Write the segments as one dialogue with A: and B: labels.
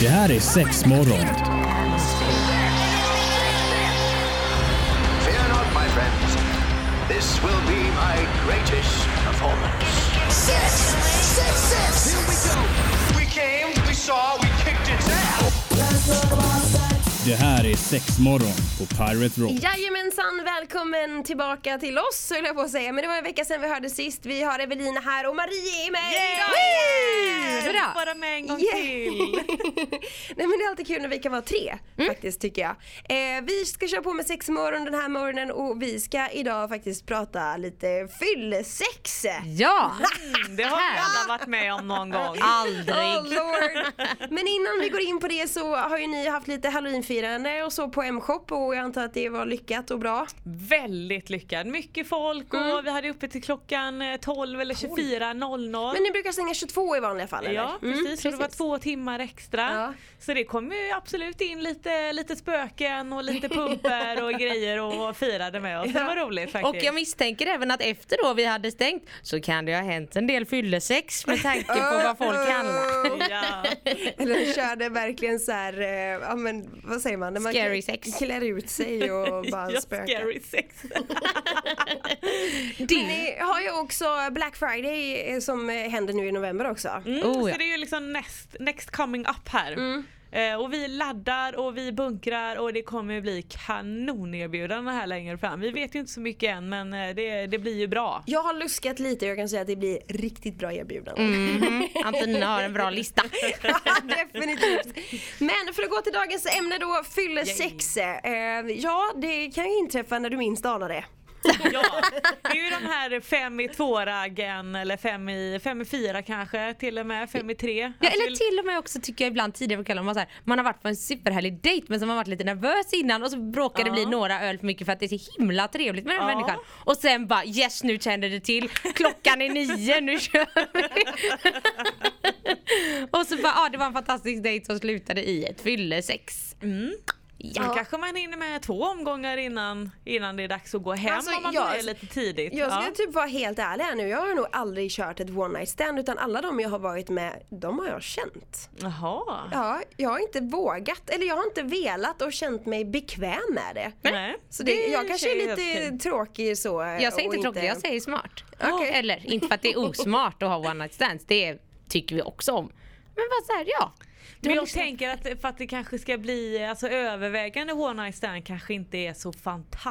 A: Det här är sex morgon.
B: Fear not, my friends. This will be my greatest performance.
C: Six, six, six.
B: Here we go. We came, we saw, we kicked its ass.
A: Det här är sex morgon på Pirate Rock.
D: Jajamensan, välkommen tillbaka till oss höll jag på att säga. Men det var en vecka sedan vi hördes sist. Vi har Evelina här och Marie är med idag igen!
E: Jag vill vara med en gång
D: Yeah.
E: till.
D: Nej men det är alltid kul när vi kan vara tre
E: Mm.
D: faktiskt tycker jag. Eh, vi ska köra på med sex morgon den här morgonen och vi ska idag faktiskt prata lite fyllesex.
F: Ja!
E: Mm, Det har vi alla varit med om någon gång.
D: Oh
F: Aldrig!
D: lord! Men innan vi går in på det så har ju ni haft lite halloweenfirande och så på M-shop och jag antar att det var lyckat och bra.
E: Väldigt lyckad. Mycket folk och vi hade uppe till klockan eh, 12 eller 24.00.
D: Men ni brukar stänga 22 i vanliga fall eller? Mm,
E: Ja precis, så det var två timmar extra.
D: Ja.
E: Så det kom ju absolut in lite, lite spöken och lite pumper och grejer och firade med oss. Det var roligt
F: Och
E: faktiskt.
F: jag misstänker även att efter då vi hade stängt så kan det ha hänt en del fyllesex med tanke på vad folk handlar.
E: ja.
D: Eller körde verkligen så här, eh, ja men vad säger man? När man
F: Scary
D: klä-
F: sex.
D: klär ut sig och bara
E: Ja,
D: spökar.
E: scary sex.
D: Men ni har ju också Black Friday eh, som eh, händer nu i november också.
E: Mm,
F: Oh, ja. Mm.
E: Så det är ju liksom next, next coming up här. Eh, och vi laddar och vi bunkrar och det kommer bli kanonerbjudanden här längre fram. Vi vet ju inte så mycket än men eh, det, det blir ju bra.
D: Jag har luskat lite och jag kan säga att det blir riktigt bra erbjudanden.
F: Mhm. Antonina har en bra lista.
D: Definitivt. Men för att gå till dagens ämne då, fyller sex. Eh, ja, det kan ju inträffa när du minst anar det.
E: Ja, det är ju de här fem i två-raggen eller fem i, fem i fyra kanske till och med, fem i tre. Alltså,
F: Ja,
E: Att
F: eller
E: vi-
F: till och med också tycker jag ibland tidigare på kvällen man, så här, man har varit på en superhärlig dejt men så har man varit lite nervös innan och så bråkar det bli några öl för mycket för att det är så himla trevligt med den
E: Ja.
F: människan. Och sen bara yes nu känner det till, klockan är nio, nu kör vi. och så bara ah, det var en fantastisk dejt som slutade i ett fyllesex.
E: Ja. Då kanske man hinner med två omgångar innan, innan det är dags att gå hem
D: Alltså,
E: om man
D: jag-
E: börjar lite tidigt.
D: Jag ska
E: Ja.
D: typ vara helt ärlig här nu, jag har nog aldrig kört ett one night stand utan alla de jag har varit med, de har jag känt.
E: Jaha.
D: Ja, jag har inte vågat, eller jag har inte velat och känt mig bekväm med det.
E: Nej.
D: Så det, jag kanske är
E: helt okej.
D: lite tråkig så.
F: Jag säger
D: och
F: inte tråkigt, jag säger smart.
D: Okej.
F: Eller inte för att det är osmart att ha one night stands, det tycker vi också om. Men bara såhär ja. Du
E: Men
F: har
E: jag
F: lyssnat.
E: tänker att för att det kanske ska bli alltså, övervägande one night stand kanske inte är så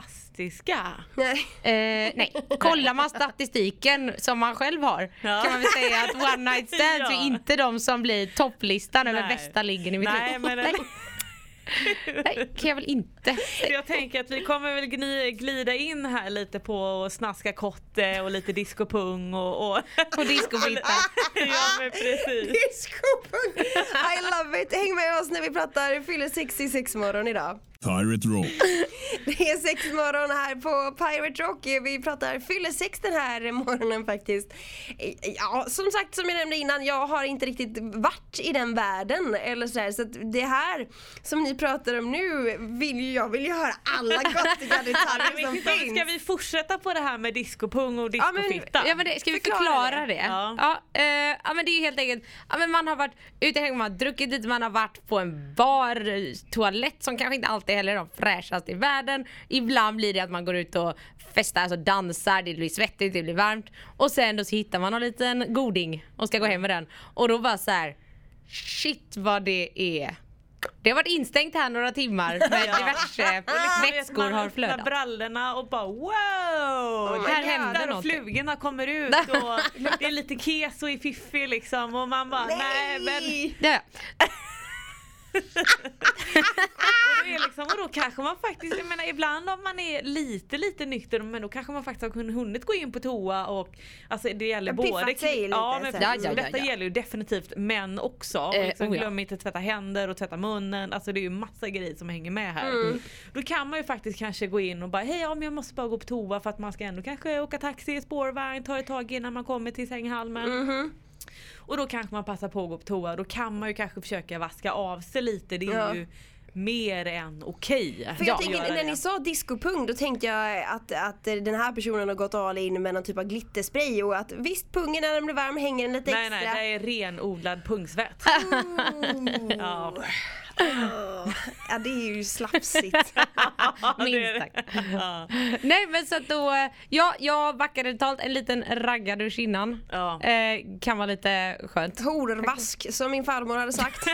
E: fantastiska.
D: Nej.
F: Eh, nej, kollar man statistiken som man själv har
E: Ja.
F: kan man väl säga att one night stands
E: Ja.
F: är inte de som blir topplistan över
E: Nej.
F: bästa liggen i mitt
E: Nej,
F: liv.
E: men-
F: nej. nej, kan jag väl inte
E: Så
F: säga.
E: jag tänker att vi kommer väl gni- glida in här lite på och snaska kotte och lite discopung och... och...
F: På discobittar.
E: ja men precis.
D: Discopung! I love it! Häng med oss när vi pratar fyller 66 morgon idag.
A: Pirate Rock.
D: Det är sex morgon här på Pirate Rock. Vi pratar fyller sex den här morgonen faktiskt. Ja, som sagt, som jag nämnde innan, jag har inte riktigt varit i den världen eller sådär. Så att det här som ni pratar om nu vill ju jag vill ju höra alla gottiga detaljer som
E: Men
D: finns.
E: Ska vi fortsätta på det här med discopung och
D: men-
E: discofitta?
F: Ja, men det, ska vi
D: Förklara
F: förklara,
D: det.
F: det?
E: Ja.
F: Ja. eh, ja men det är ju helt enkelt, ja, men man har varit ute, man har druckit lite, man har varit på en bar, eh, toalett som kanske inte alltid heller är de fräschaste i världen. Ibland blir det att man går ut och festar, alltså dansar, det blir svettigt, det blir varmt. Och sen då så hittar man någon liten goding och ska gå hem med den. Och då bara så här, shit vad det är. Det har varit instängt här några timmar med
E: Ja.
F: diverse
E: Ah, Du vet,
F: vätskor
E: man
F: har
E: öppnar
F: flödat.
E: brallorna och bara wow!
D: my
F: Här
E: Det
F: hände
E: jävlar, och
F: någonting.
E: flugorna kommer ut och det är lite kes och är fiffig liksom och man bara nej men
F: Ja.
E: Och det är liksom, och då kanske man faktiskt, jag menar ibland om man är lite lite nykter men då kanske man faktiskt har kun- hunnit gå in på toa och alltså det gäller
D: Ja,
E: både
D: piffat sig lite
E: ja, men
D: så.
E: precis.
F: Ja, ja, ja,
E: detta
F: ja.
E: gäller ju definitivt män också. Och
F: Eh,
E: liksom,
F: oh ja.
E: Glöm inte tvätta händer och tvätta munnen, alltså det är ju massa grejer som hänger med här.
D: Mm.
E: Då kan man ju faktiskt kanske gå in och bara hej ja, men jag måste bara gå på toa för att man ska ändå kanske åka taxi, spårvagn, ta ett tag innan man kommer till sänghalmen. Och då kanske man passar på att gå på toa. Då kan man ju kanske försöka vaska av sig lite. Det är
D: Ja.
E: ju mer än okej.
D: För jag tänker, när ni sa discopung då tänkte jag att, att den här personen har gått all in med någon typ av glitterspray och att visst pungen när den blir varm hänger den lite
E: Nej
D: extra. Oh.
E: nej, det är renodlad pungsvett. ja.
D: Ja det är ju slafsigt.
F: Minst
E: det-
F: sagt.
E: Ja.
F: Nej men så att då, eh, ja jag backade totalt en liten raggardusch innan.
E: Ja.
F: Eh, kan vara lite skönt.
D: Horvask som min farmor hade sagt.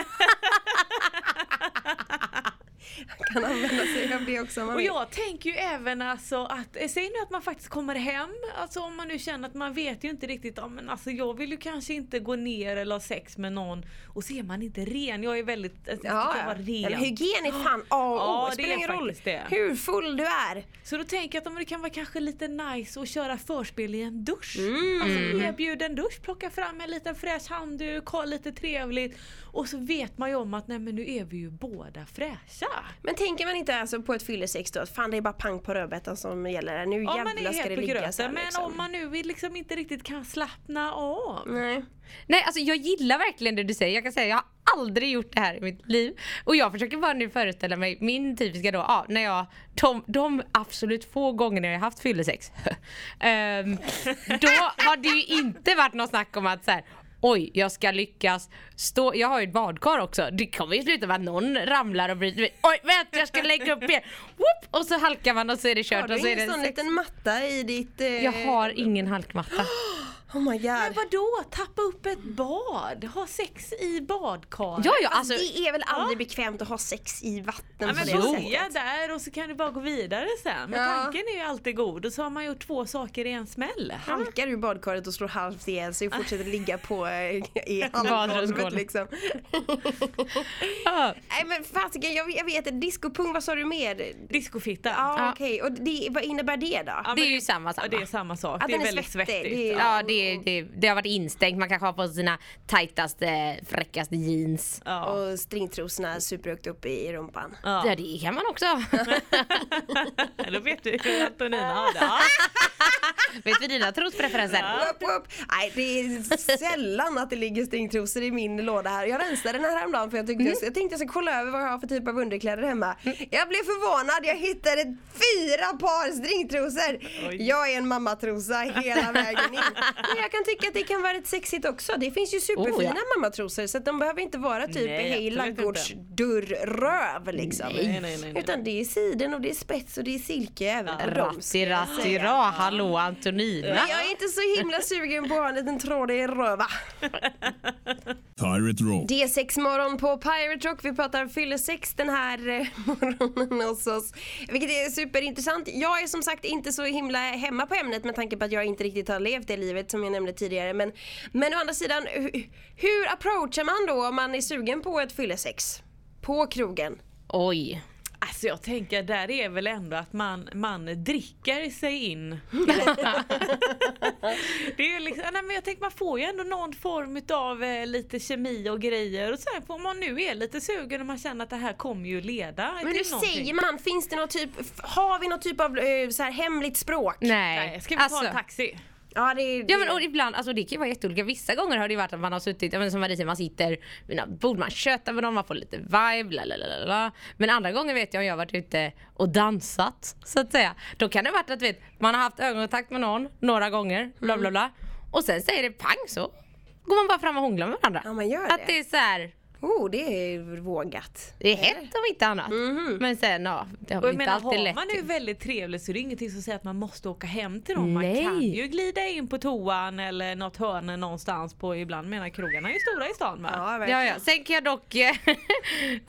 D: Jag kan använda sig av det också om man
E: Och
D: vill.
E: jag tänker ju även alltså att, eh, säg nu att man faktiskt kommer hem, alltså om man nu känner att man vet ju inte riktigt, ja, men alltså jag vill ju kanske inte gå ner eller ha sex med någon och så är man inte ren. Jag är väldigt, alltså, jag
D: Ja,
E: ska
D: ja.
E: vara ren.
D: Eller hygien är fan A och O.
E: Ja,
D: det
E: det
D: spelar
E: är
D: ingen roll
E: faktiskt det.
D: hur full du är.
E: Så då tänker jag att ja, men det kan vara kanske lite nice att köra förspel i en dusch. Mm. Alltså erbjud en dusch, plocka fram en liten fräsch handduk, ha lite trevligt. Och så vet man ju om att nej men nu är vi ju båda fräscha.
D: Men tänker man inte alltså på ett fyllesex då att fan det är bara pang på rödbetan som gäller här. Nu
E: Ja, man är
D: jävlar ska det
E: helt på
D: ligga
E: gröten.
D: sen,
E: Men
D: liksom. Mm.
E: om man nu vill liksom inte riktigt kan slappna av.
D: Nej.
F: Nej alltså jag gillar verkligen det du säger. Jag kan säga jag har aldrig gjort det här i mitt liv. Och jag försöker bara nu föreställa mig min typiska då, ja, när jag, de, de absolut få gångerna jag har haft fyllesex. ehm, då har det ju inte varit något snack om att så här, Oj, jag ska lyckas stå. Jag har ju ett badkar också. Det kommer ju sluta med att någon ramlar och bryter mig. Oj, vänta jag ska lägga upp igen. Whoop! Och så halkar man och så är det kört.
D: Har du
F: och så är det
D: ingen sån
F: sex.
D: liten matta i ditt... Eh...
F: Jag har ingen halkmatta.
D: Oh my god.
E: Men vadå? Tappa upp ett bad? Ha sex i badkaret?
F: Ja, ja, alltså,
D: det är väl aldrig bekvämt att ha sex i vatten
E: Ja,
D: på
E: men
D: det
E: börja
D: sättet.
E: där och så kan du bara gå vidare sen. Men
D: Ja.
E: tanken är ju alltid god och så har man gjort två saker i en smäll.
D: Halkar du badkaret och slår halvt ihjäl sig och fortsätter ligga på eh, i halvgolvet
F: Badrumsgolvet.
D: liksom.
F: ja.
D: Nej men fasiken jag, jag vet inte, discopung vad sa du mer?
E: Discofitta.
D: Ja
F: Ja.
D: okej, och det, vad innebär det då?
E: Ja, men
F: Det är ju samma, samma.
E: Ja, det är samma sak.
D: Att
E: det är,
D: den är
E: väldigt
D: svettig,
E: svettigt.
D: det är-
E: Ja.
F: Ja, det, det, det har varit instängt. Man kanske har på sig sina tajtaste, fräckaste jeans.
E: Ja.
D: Och stringtrosorna superhögt upp i rumpan.
F: Ja. det kan man också ha.
E: Då vet du hur Antonina har det. Ja.
F: Vet vi dina trospreferenser?
D: Upp, upp. Nej, det är sällan att det ligger stringtrosor i min låda här. Jag rensade den här häromdagen för jag, tyckte,
E: Mm.
D: jag tänkte jag ska kolla över vad jag har för typ av underkläder hemma. Jag blev förvånad, jag hittade fyra par stringtrosor.
E: Oj.
D: Jag är en mammatrosa hela vägen in. Men jag kan tycka att det kan vara rätt sexigt också. Det finns ju superfina
F: Oh, ja.
D: mammatrosor så att de behöver inte vara typ
E: Nej,
D: hej
E: absolut
D: ladugårds dörrröv liksom.
E: Nej, nej, nej, nej.
D: Utan det är siden och det är spets och det är silke även på dem.
F: Ratti, ratti, ra. Hallå Antonina.
D: Men jag är inte så himla sugen på att ha en liten tråd i röva.
A: Pirate Rock.
D: Det är sexmorgon på Pirate Rock. Vi pratar fyllesex den här eh, morgonen hos oss. Vilket är superintressant. Jag är som sagt inte så himla hemma på ämnet med tanke på att jag inte riktigt har levt det livet som jag nämnde tidigare. Men, men å andra sidan, hur, hur approachar man då om man är sugen på ett fyllesex? På krogen?
F: Oj.
E: Alltså jag tänker där är väl ändå att man, man dricker sig in. det är ju liksom, nej men jag tänker man får ju ändå någon form av eh, lite kemi och grejer och sen får man nu är lite sugen och man känner att det här kommer ju leda
D: Men hur
E: till någonting.
D: säger man? Finns det någon typ, har vi någon typ av eh, så här hemligt språk?
F: Nej. Alltså.
E: Nej, ska vi
D: Alltså.
E: ta en taxi?
D: Ja, det, är-
F: Ja men och ibland, alltså det kan ju vara jätteolika. Vissa gånger har det ju varit att man har suttit, ja, men som Marie säger, man sitter vid något bord, man tjötar med någon, man får lite vibe, la, la, la, la, la. Men andra gånger vet jag om jag har varit ute och dansat så att säga. Då kan det ha varit att vet, man har haft ögonkontakt med någon några gånger, bla bla bla. Och sen säger det pang så går man bara fram och hånglar med varandra.
D: Ja, man gör
F: att
D: det.
F: det är så här,
D: Oh, det är vågat.
F: det är hett om inte annat. Men sen ja, det har
E: Mhm. Och
F: väl
E: jag menar,
F: inte alltid
E: har
F: lätt.
E: man ju
F: till.
E: väldigt trevligt så det är ingenting som säger att man måste åka hem till dem. Man kan
F: Nej.
E: ju glida in på toan eller något hörn någonstans på, ibland menar krogarna är ju stora i stan va?
D: Ja, verkligen.
F: Ja, ja. Sen kan jag dock eh,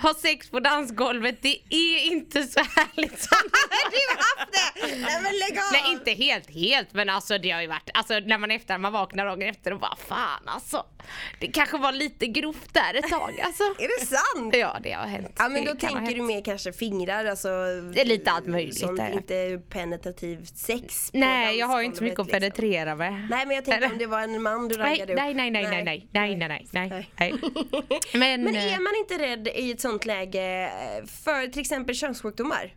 F: ha sex på dansgolvet. Det är inte så härligt som
D: Du har haft det! Nej men lägg av!
F: Nej inte helt helt men alltså det har ju varit, alltså när man efter, man vaknar dagen efter och bara fan alltså. Det kanske var lite grovt där ett tag alltså.
D: Är det sant?
F: Ja det har hänt.
D: Ja men
F: Det
D: då
F: kan ha
D: tänker du
F: hänt.
D: mer kanske fingrar alltså.
F: Det är lite allt möjligt
D: Sånt
F: där.
D: inte penetrativt sex på
F: Nej jag har ju inte så mycket att
D: dansgolvet, liksom.
F: penetrera med.
D: Nej men jag tänkte
F: Eller?
D: om det var en man du
F: Nej
D: raggade upp.
F: nej nej nej nej nej nej nej nej nej. Men,
D: Men
F: eh,
D: eh, är man inte rädd i ett sånt läge för till exempel könssjukdomar?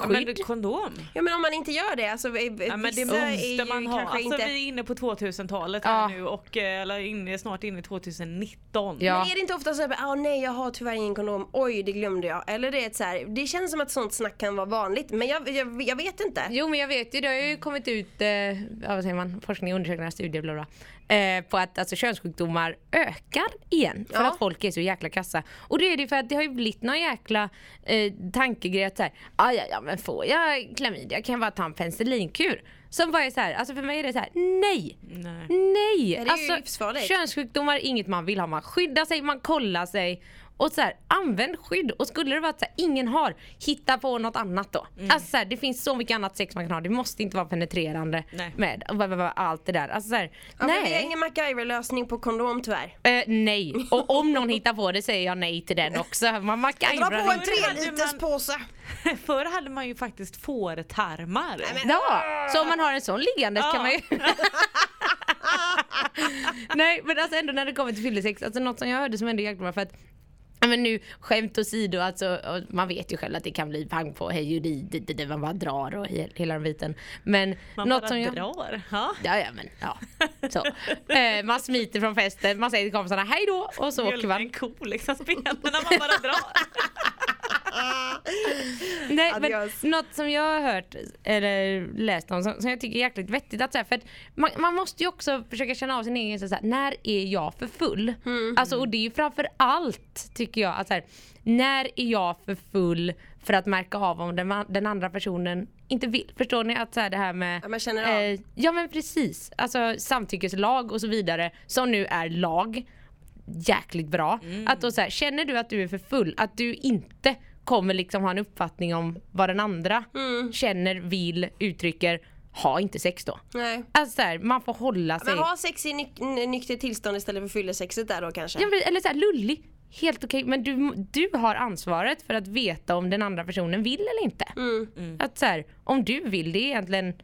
E: Ja, men
F: Skydd?
E: kondom?
D: Ja men om man inte gör det, alltså vi-
E: Ja, men det
D: vissa är ju
E: måste man ha.
D: kanske
E: Alltså,
D: inte...
E: Vi är inne på 2000-talet här
F: Ja.
E: nu och eh, eller inne, snart inne i 2019.
F: Ja.
D: Men är det inte ofta så här, ah, nej jag har tyvärr ingen kondom, oj det glömde jag. Eller det är ett så här, det känns som att sånt snack kan vara vanligt men jag, jag, jag vet inte.
F: Jo men jag vet ju, det har
D: Mm.
F: ju kommit ut, eh, ja, vad säger man, forskning, undersökningar, studier, bla bla. bla, Eh, på att alltså, könssjukdomar ökar igen för
D: Ja.
F: att folk är så jäkla kassa. Och det är det ju för att det har ju blivit någon jäkla eh, tankegrej att såhär, ja ja men får jag klamydia kan jag bara ta en penicillinkur. Som bara är såhär, alltså för mig är det så här: nej! Alltså,
E: Nej.
F: Nej!
D: Ja, det är ju livsfarligt.
F: Könssjukdomar är inget man vill ha. Man skyddar sig, man kollar sig. Och så här, använd skydd. Och skulle det vara att så här, ingen har, hitta på något annat då.
D: Mm.
F: Alltså så här, det finns så mycket annat sex man kan ha. Det måste inte vara penetrerande
E: Nej.
F: med och vad- vad- vad- allt det där. Alltså så här,
D: Ja, nej. Vi har
F: nej.
D: ingen MacGyver-lösning på kondom tyvärr.
F: Eh, nej. Och om någon hittar på det säger jag nej till den också. Man
D: Dra på
F: MacGyvrar
D: en
F: inte.
E: tre hade
D: treliters
E: man-
D: påse.
E: Förr hade man ju faktiskt fårtarmar.
F: Ja, så om man har en sån liggandes kan man ju... Nej men alltså ändå när det kommer till fyllesex, alltså något som jag hörde som ändå hjälpte mig för att ja, men nu skämt åsido, alltså, och man vet ju själv att det kan bli pang på hej och di, di, di, di, man bara drar och he- hela den biten. Men
E: Man
F: något
E: bara
F: som jag...
E: drar. Ja.
F: Ja, ja, men, ja. Så. Eh, man smiter från festen, man säger till kompisarna hej då och så åker man.
E: en ko liksom, spenarna man bara drar.
F: Nej, men
D: Adios.
F: något som jag har hört eller läst om som, som jag tycker är jäkligt vettigt att, så här, för att man, man måste ju också försöka känna av sin egen så här, när är jag för full? Alltså, och det är ju framför allt tycker jag att så här, när är jag för full för att märka av om den, den andra personen inte vill? Förstår ni att så här, det här med
D: Ja, man känner av.
F: Eh, ja men precis, alltså samtyckeslag och så vidare som nu är lag jäkligt bra.
D: Mm.
F: Att då så här, känner du att du är för full, att du inte kommer liksom ha en uppfattning om vad den andra
D: Mm.
F: känner, vill, uttrycker. Ha inte sex då.
D: Nej.
F: Alltså så här, man får hålla sig.
D: Men ha sex i nyk- n- nykter tillstånd istället för fyllesexet där då kanske.
F: Ja, men- eller så här, lullig. Helt okej, men du, du har ansvaret för att veta om den andra personen vill eller inte.
D: Mm.
F: Att så här, om du vill, det är egentligen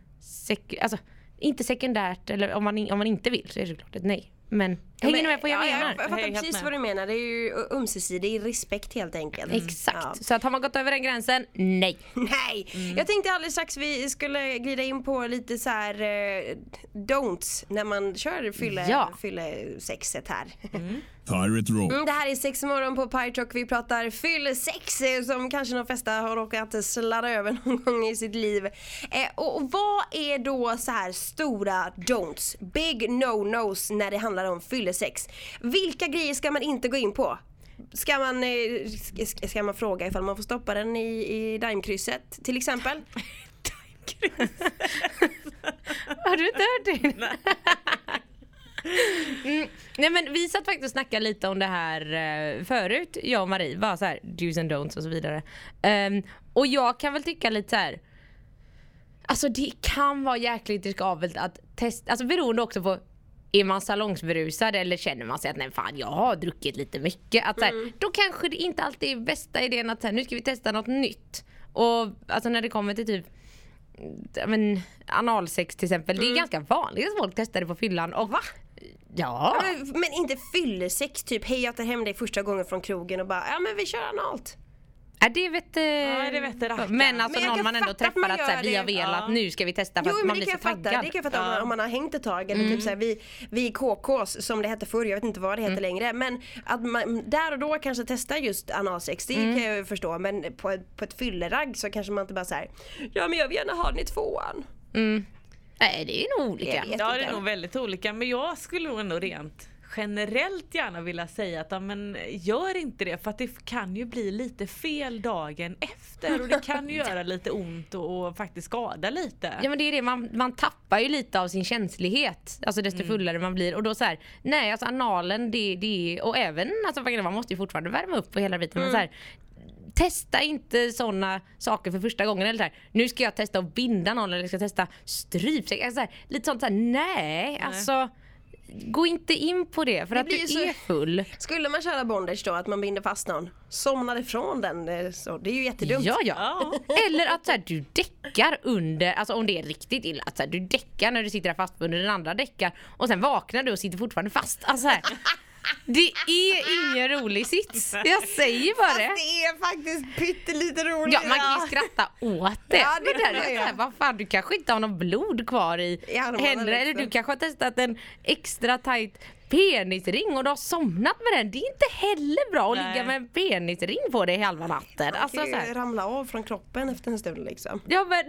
F: sek- alltså, inte sekundärt, eller om man, i- om man inte vill så är det såklart ett nej. Men hänger ni med på vad jag
D: ja,
F: menar?
D: Jag, jag
E: Jag är
D: fattar
E: helt
D: precis
E: med.
D: vad du menar. Det är ju ömsesidig respekt helt enkelt.
F: Exakt.
D: Mm. Ja.
F: Så att har man gått över den gränsen, nej.
D: Nej, jag tänkte alldeles strax vi skulle glida in på lite så här eh, don'ts när man kör fylle,
F: Ja.
D: fylle sexet här.
A: Pirate Rock.
D: Mm, det här är sex morgon på Pyrock. Vi pratar fyllsex eh, som kanske de flesta har råkat sladda över någon gång i sitt liv. Eh, och och vad är då så här stora don'ts, big no-nos när det handlar om fyllesex? Vilka grejer ska man inte gå in på? Ska man, eh, sk- sk- ska man fråga ifall man får stoppa den i, i daimkrysset till exempel?
F: Har du inte hört det? Nej. mm. Nej men vi satt faktiskt och snackade lite om det här eh, förut, jag och Marie. Bara så här, do's and don'ts och så vidare. Ehm, och jag kan väl tycka lite så här. Alltså det kan vara jäkligt riskabelt att testa, alltså beroende också på är man salongsberusad eller känner man sig att nej fan jag har druckit lite mycket. Att, så här, Då kanske det inte alltid är bästa idén att så här, nu ska vi testa något nytt. Och alltså när det kommer till typ ja, men, analsex till exempel. Det är ganska vanligt att folk testar det på fyllan. Och, Va? Ja.
D: Ja, Men, men inte fyllesex, typ hej jag tar hem dig första gången från krogen och bara ja men vi kör analt.
F: Ja, det vet, eh,
E: det vet rackaren.
F: Men alltså
D: Men jag
F: någon
D: kan
F: man ändå
D: fatta att man
F: träffar att, så här,
D: gör
F: vi har
D: det.
F: velat
E: Ja.
F: nu ska vi testa för
D: Jo
F: att
D: men
F: man
D: det
F: blir
D: kan
F: så
D: jag fatta,
F: taggad.
D: det kan jag fatta om, man, om man har hängt ett tag eller typ såhär, vi, vi är KKs som det hette förr, jag vet inte vad det heter längre men att man där och då kanske testar just analsex det kan jag ju förstå men på, ett- på ett fylleragg så kanske man inte bara såhär ja men jag vill gärna ha den i tvåan.
F: Nej det är nog olika.
D: Jag vet.
E: Ja det
D: inte.
E: är nog väldigt olika men jag skulle nog ändå rent generellt gärna vilja säga att ja, men gör inte det för att det kan ju bli lite fel dagen efter och det kan ju göra lite ont och, och faktiskt skada lite.
F: Ja men det är det, man, man tappar ju lite av sin känslighet. Alltså
D: Mm.
F: desto fullare man blir. Och då så här, nej alltså analen det, det är, och även alltså vagina, man måste ju fortfarande värma upp på hela biten. Men så här, testa inte sådana saker för första gången. Eller så här, nu ska jag testa att binda någon eller jag ska testa strypsex. Alltså så här, lite sånt så här, nej, alltså gå inte in på det för att du
D: blir ju så-
F: är full.
D: Skulle man köra bondage då att man binder fast någon, somnar ifrån den eh, så, det är ju jättedumt.
F: Ja, ja.
E: Ja.
F: Eller att så här, du däckar under, alltså om det är riktigt illa, att så här, du däckar när du sitter där fastbunden, den andra däckar och sen vaknar du och sitter fortfarande fast. Alltså, så här. Det är ingen rolig sits. Jag säger bara det.
D: Fast det är faktiskt pyttelite roligt.
F: Ja, man kan ju skratta åt det.
D: Ja, det
F: det där
D: kan man
F: är
D: göra.
F: såhär, vad fan du kanske inte har något blod kvar i,
D: I armarna
F: händerna. Eller
D: liksom.
F: du kanske har testat en extra tight penisring och du har somnat med den. Det är inte heller bra att
E: Nej.
F: ligga med en penisring på dig halva natten. Alltså,
D: Man kan ju
F: såhär.
D: ramla av från kroppen efter en stund liksom.
F: Ja men...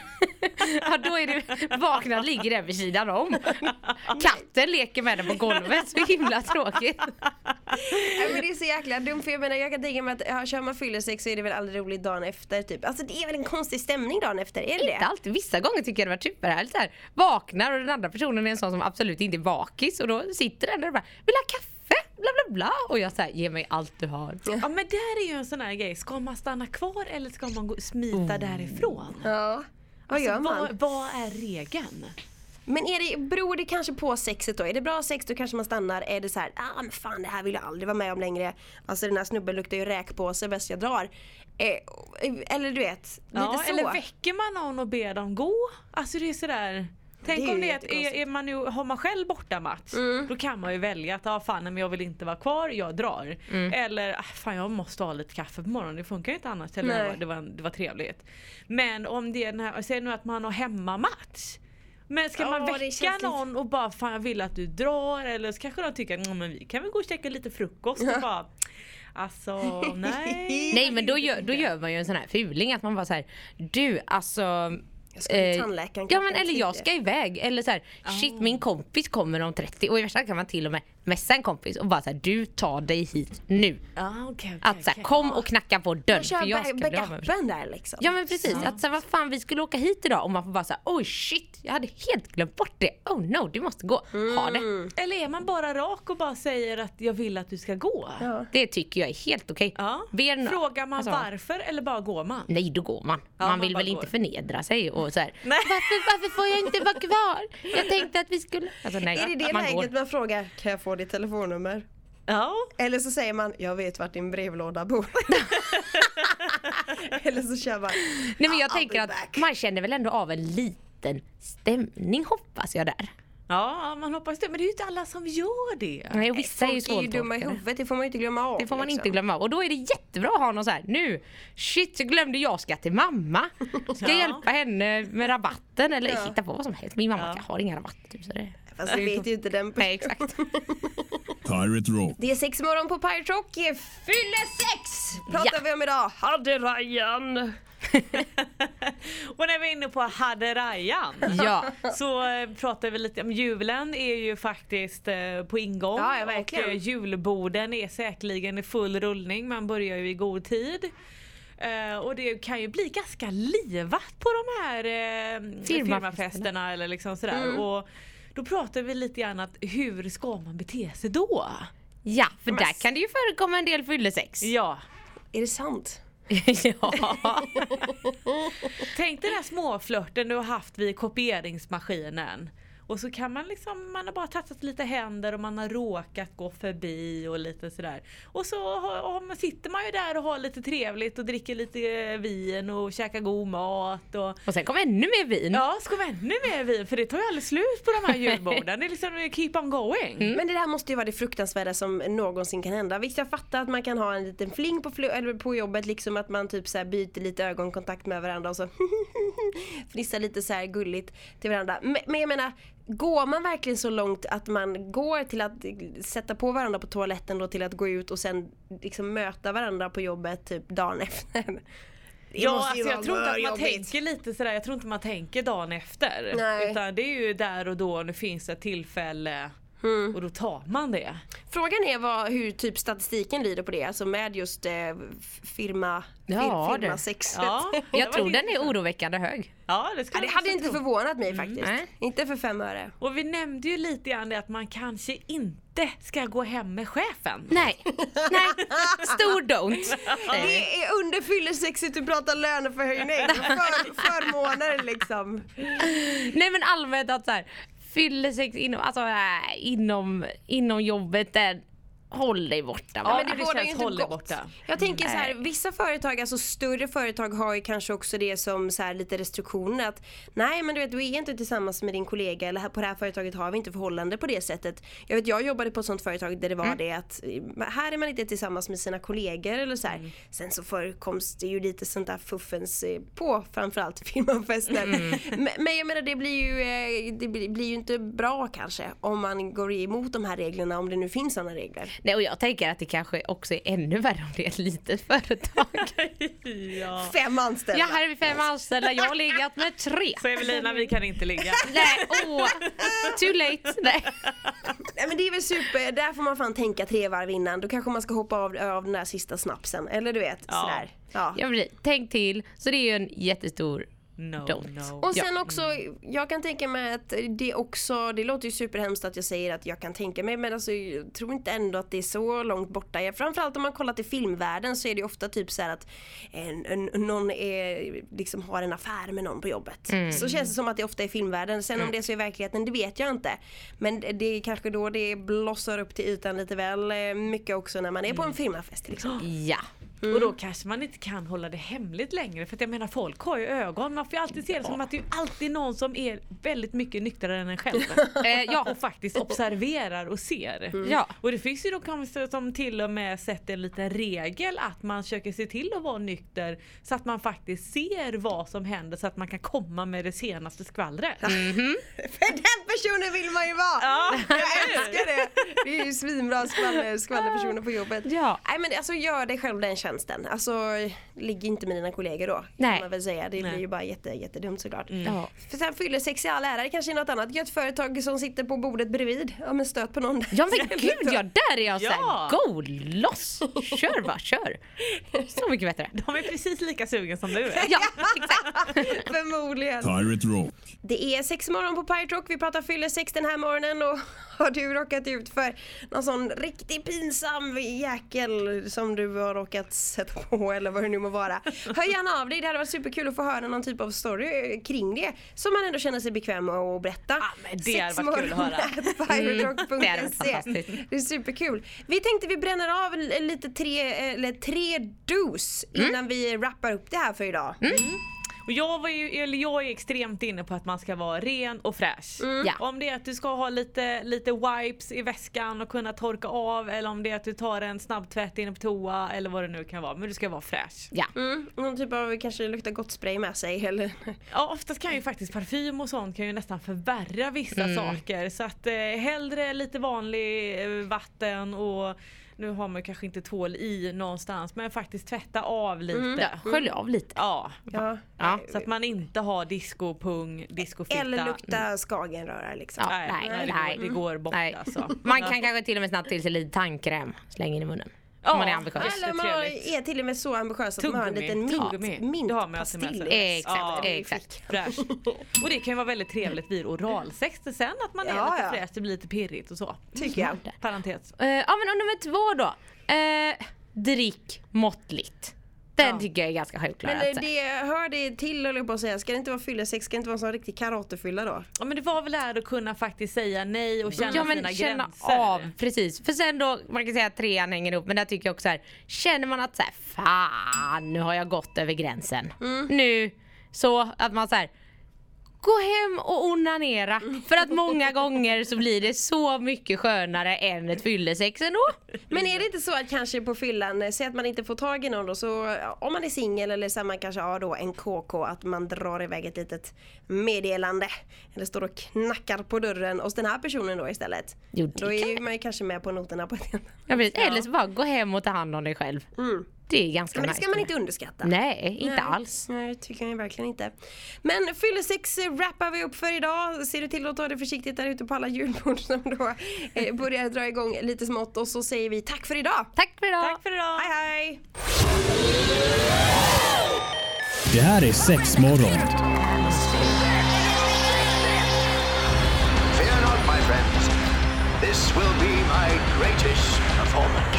F: ja då är det vakna ligger den vid sidan om. Katten leker med den på golvet, så himla tråkigt.
D: Nej, men det är så jäkla dumt för jag menar jag kan tänka mig att ja, kör man fyllesex så är det väl aldrig roligt dagen efter typ. Alltså det är väl en konstig stämning dagen efter, är det
F: Inte
D: det?
F: alltid, vissa gånger tycker jag det var superhärligt såhär vaknar och den andra personen är en sån som absolut inte är vakis och då sitter den där och bara vill du ha kaffe? Bla bla bla och jag säger ge mig allt du har.
E: Ja men där är ju en sån här grej, ska man stanna kvar eller ska man gå, smita
F: Oh.
E: därifrån?
D: Ja. Vad gör
E: Alltså,
D: man?
E: Vad, vad är regeln?
D: Men är det, beror det kanske på sexet då? Är det bra sex då kanske man stannar. Är det så här, ah men fan det här vill jag aldrig vara med om längre. Alltså den här snubben luktar ju räkpåse bäst jag drar. Eh, eller du vet, lite
E: Ja,
D: så.
E: eller väcker man någon och ber dem gå? Alltså det är sådär Tänk
D: Det är Mm.
E: om
D: ju
E: det är, att är, är man ju, har man själv bortamatch då kan man ju välja att ah, fan, nej, men jag vill inte vara kvar, jag drar.
D: Mm.
E: Eller ah, fan jag måste ha lite kaffe på morgonen, det funkar ju inte annars. Eller det
D: Nej.
E: var, det, var, det var trevligt. Men om det är den här, säg nu att man har hemmamatch. Men ska man
D: Ja, det
E: väcka
D: känns lite-
E: någon och bara fan jag vill att du drar eller så kanske de tycker att "Mm, men vi kan väl gå och käka lite frukost och bara Alltså nej.
F: Nej men då gör, då gör man ju en sån här fuling att man bara såhär du alltså jag
D: ska till tandläkaren
F: ja men
D: klockan
F: eller jag
D: tio." Ah.
F: ska iväg eller såhär shit min kompis kommer om 30 och i värsta fall kan man till och med messa en kompis och bara såhär du tar dig hit nu.
E: Ah, okay, okay,
F: Att såhär kom och knacka på dörren
D: Man kör
F: för jag ska bli av med
D: backupen där liksom.
F: Ja men precis, att såhär, vad fan vi skulle åka hit idag och man får bara såhär oh shit jag hade helt glömt bort det. Oh no du måste gå. Ha
D: Mm.
F: det.
E: Eller är man bara rak och bara säger att jag vill att du ska gå? Ja.
F: Det tycker jag är helt okej. Ber nå-
E: Frågar man
F: alltså,
E: varför eller bara går man?
F: Nej då går man. man,
E: man
F: vill
E: bara
F: väl
E: går.
F: inte förnedra sig och såhär
E: Nej.
F: varför, varför får jag inte vara kvar? Jag tänkte att vi skulle... Alltså nej,
D: Är det det
F: man
D: läget
F: går.
D: man frågar, kan jag få ditt telefonnummer?
E: Ja.
D: Eller så säger man, jag vet vart din brevlåda bor. Eller så kör man,
F: Nej men jag
D: I'll
F: tänker
D: be
F: att
D: back.
F: man känner väl ändå av en liten stämning hoppas jag där.
E: ja, man hoppas det. Men det är ju inte alla som gör det.
F: Nej, och vissa är ju
D: folk är ju dumma i
F: svårtolkade.
D: huvudet, det får man ju inte glömma av.
F: Det får man
D: liksom.
F: inte glömma. Och då är det jättebra att ha någon så här nu, shit jag glömde jag ska till mamma. Ska
E: Ja.
F: hjälpa henne med rabatten eller
D: Ja.
F: hitta på vad som helst. Min mamma
E: Ja.
F: har inga rabatter typ så det...
D: Fast det vet ju inte den
F: Nej exakt.
A: Pirate Rock.
D: Det är sex morgon på Pirate Rock, fyller sex! Pratar
F: Ja.
D: vi om idag, hade Rajan.
E: och när vi är inne på hade Rajan
F: ja.
E: så eh, pratar vi lite om julen är ju faktiskt eh, på ingång.
D: Ja, ja,
E: och
D: verkligen.
E: eh, julborden är säkerligen i full rullning. Man börjar ju i god tid. Eh, och det kan ju bli ganska livat på de här eh, firmafesterna eller liksom sådär.
D: Mm.
E: Och då pratar vi lite grann att hur ska man bete sig då?
F: Ja, för där kan det ju förekomma en del fyllesex.
E: Ja,
D: Är det sant?
F: ja.
E: Tänk den här småflörten du har haft vid kopieringsmaskinen. Och så kan man liksom, man har bara tassat lite händer och man har råkat gå förbi och lite sådär. Och så har, har man, sitter man ju där och har lite trevligt och dricker lite eh, vin och käkar god mat och
F: Och sen kom ännu mer vin.
E: Ja, ska vi ha ännu mer vin? För det tar ju aldrig slut på de här julborden. Det är liksom keep on going.
D: Men det där måste ju vara det fruktansvärda som någonsin kan hända. Visst jag fattar att man kan ha en liten fling på, flu- eller på jobbet liksom att man typ så här byter lite ögonkontakt med varandra och så fnissar lite så här gulligt till varandra. Men, men jag menar, går man verkligen så långt att man går till att sätta på varandra på toaletten då till att gå ut och sen liksom möta varandra på jobbet typ dagen efter? Det
E: Ja,
D: måste ju
E: alltså jag
D: vara
E: tror inte att man
D: jobbigt.
E: tänker lite sådär, jag tror inte man tänker dagen efter.
D: Nej.
E: Utan det är ju där och då, nu finns ett tillfälle
D: Mm.
E: och då tar man det.
D: Frågan är vad, hur typ statistiken lyder på det, alltså med just eh, f- firma,
F: Ja,
D: fir,
F: det.
D: firmasexet.
E: Ja, det var
F: Jag tror
E: lite
F: den är oroväckande hög.
E: Ja, det,
D: Ja,
E: skulle
D: det
E: man
D: hade
E: också
D: inte
E: tro.
D: förvånat mig faktiskt.
F: Mm, Nej.
D: Inte för fem öre.
E: Och vi nämnde ju lite grann det att man kanske inte ska gå hem med chefen.
F: Nej, nej. Stor don't.
D: Det är under fyllesexigt du pratar löneförhöjning. För, förmåner liksom.
F: Nej men allmänt att så här, fyller sex inom, alltså, äh, inom, inom jobbet är håll dig borta.
E: Ja,
F: bara.
E: men det
D: bådar
E: känns
D: ju inte
E: håll dig
D: gott.
E: borta.
D: Jag tänker så här,
F: Nej.
D: vissa företag, alltså större företag har ju kanske också det som så här, lite restriktioner att nej men du vet du är inte tillsammans med din kollega eller här, på det här företaget har vi inte förhållande på det sättet. Jag vet jag jobbade på ett sånt företag där det var
E: Mm.
D: det att eh, här är man inte tillsammans med sina kollegor eller så här.
E: Mm.
D: Sen så förekoms det ju lite sånt där fuffens eh, på framförallt firmafester.
E: Mm.
D: Men, men jag menar det blir ju, eh, det blir blir ju inte bra kanske om man går emot de här reglerna om det nu finns sådana regler.
F: Nej, och jag tänker att det kanske också är ännu värre om det är ett litet företag.
E: ja.
D: Fem anställda.
F: jag hade fem anställda, jag har legat med tre.
E: Så Evelina, vi kan inte ligga.
F: Nej, åh, too late. Nej.
D: Nej men det är väl super, där får man fan tänka tre varv innan. Då kanske man ska hoppa av, av den där sista snapsen. Eller du vet,
E: Ja.
D: sådär. Ja.
F: Jag blir, tänk till. Så det är ju en jättestor
E: No,
F: Don't.
E: no.
D: Och sen också, jag kan tänka mig att det också, det låter ju superhemskt att jag säger att jag kan tänka mig men alltså, jag tror inte ändå att det är så långt borta. Jag- Framförallt om man kollar till filmvärlden så är det ju ofta typ så här att en, en, någon är, liksom har en affär med någon på jobbet. Så känns det som att det ofta är filmvärlden. Sen om det är så i verkligheten, det vet jag inte. Men det är kanske då det blossar upp till ytan lite väl eh, mycket också när man är på en filmafest. Liksom.
F: Ja.
E: Och då kanske man inte kan hålla det hemligt längre för att jag menar folk har ju ögon. Man får ju alltid se det som att det är ju alltid någon som är väldigt mycket nyktrare än en själv.
F: Eh, ja.
E: och faktiskt observerar och ser.
F: Ja.
E: Mm. Och det finns ju de kanske som till och med sätter en liten regel att man försöker se till att vara nykter så att man faktiskt ser vad som händer så att man kan komma med det senaste skvallret.
D: För den personen vill man ju vara!
E: Ja.
D: Jag älskar det! Det är ju svinbra skvaller, skvallerpersoner på jobbet.
F: Ja.
D: Nej men alltså gör dig själv den tjänsten. Alltså ligg inte med dina kollegor då.
F: Nej.
D: Kan man väl säga. Det
E: Nej. Mm.
D: blir ju bara jätte, jättedumt såklart.
F: Ja.
D: För sen fyller sex i all ära, det kanske är något annat gött företag som sitter på bordet bredvid. Ja men stöt på någon där.
F: Ja men gud ja, där är jag
E: Ja.
F: såhär, go loss! Kör bara, kör! Så mycket bättre.
E: De är precis lika sugen som du är.
F: Ja, exakt.
D: Förmodligen.
A: Pirate Rock.
D: Det är sex morgon på Pirate Rock. Vi pratar fyller sex den här morgonen och har du råkat ut för någon sån riktigt pinsam jäkel som du har råkat sätta på eller vad det nu må vara. Hör gärna av dig. Det hade varit superkul att få höra någon typ av story kring det som man ändå känner sig bekväm med att berätta. Ja,
E: men det hade varit kul att höra.
F: Mm, det hade varit fantastiskt.
D: Det är superkul. Vi tänkte vi bränner av l- lite tre, eh, eller tre dos
E: Mm.
D: innan vi wrappar upp det här för idag.
E: Och jag, var ju, eller jag är extremt inne på att man ska vara ren och fräsch.
F: Ja.
E: Om det är att du ska ha lite, lite wipes i väskan och kunna torka av eller om det är att du tar en snabbtvätt inne på toa eller vad det nu kan vara. Men du ska vara fräsch.
F: Ja.
D: Mm, någon typ av kanske lukta gott spray med sig eller
E: Ja, oftast kan ju faktiskt parfym och sånt kan ju nästan förvärra vissa
F: Mm.
E: saker. Så att eh, hellre lite vanlig eh, vatten och nu har man ju kanske inte tvål i någonstans men faktiskt tvätta av lite.
F: Mm. Skölj av lite.
E: Ja.
D: ja.
F: Ja.
E: Så att man mm. inte har discopung, discofitta.
D: Eller lukta skagenröra liksom.
F: Ja.
E: Nej,
F: Nej,
E: nej, det,
F: nej.
E: Går, det går bort
F: Nej.
E: alltså.
F: Man kan kanske till och med snabbt till sig lite tandkräm, släng in i munnen. Om man är ambitiös.
D: Eller man har-
E: Jättetrevligt.
D: är till och med så ambitiös att man har en
E: Tuggummi.
D: liten mint,
E: Tuggummi. Det har man alltid med
D: mintpastill.
E: sig.
F: Exakt,
E: Ja.
F: exakt.
E: Fräsch. Och det kan ju vara väldigt trevligt vid oralsex sen att man är
D: Ja,
E: lite
D: ja.
E: fräsch, det blir lite pirrigt och så.
D: Tycker jag.
E: Parentes.
F: Eh, Ja men och nummer två då. Eh, drick måttligt. Den tycker jag är ganska självklar.
D: Men eh,
F: att-
D: det hör det till höll jag på att säga. Ska det inte vara fyllesex? Ska det inte vara en sån riktig karatefylla då?
E: Ja men det var väl det här att kunna faktiskt säga nej och känna
F: Ja men
E: sina
F: känna
E: gränser.
F: av, precis. För sen då, man kan säga att trean hänger ihop men där tycker jag också så här, känner man att så här, fan nu har jag gått över gränsen. Nu, så att man så här, gå hem och onanera. För att många gånger så blir det så mycket skönare än ett fyllesex ändå.
D: Men är det inte så att kanske på fyllan, eh, säg att man inte får tag i någon då, så ja, om man är singel eller så här, man kanske har då en KK, att man drar iväg ett litet meddelande. Eller står och knackar på dörren hos den här personen då istället.
F: Jo, det
D: då är
F: kan
D: ju man ju kanske med på noterna på ett
F: Ja, precis. Eller så bara gå hem och ta hand om dig själv. Det är ganska
D: Men det
F: nice.
D: ska man inte underskatta.
F: Nej, inte alls.
D: Nej, det tycker jag verkligen inte. Men fyllesex eh, wrappar vi upp för idag. Ser du till att ta det försiktigt där ute på alla julbord som då eh, börjar dra igång lite smått. Och så säger vi tack för idag.
F: Tack för idag!
E: Tack för idag!
D: Hej hej!
A: Det här är sex morgon.
B: Fear not, my friends. This will be my greatest performance.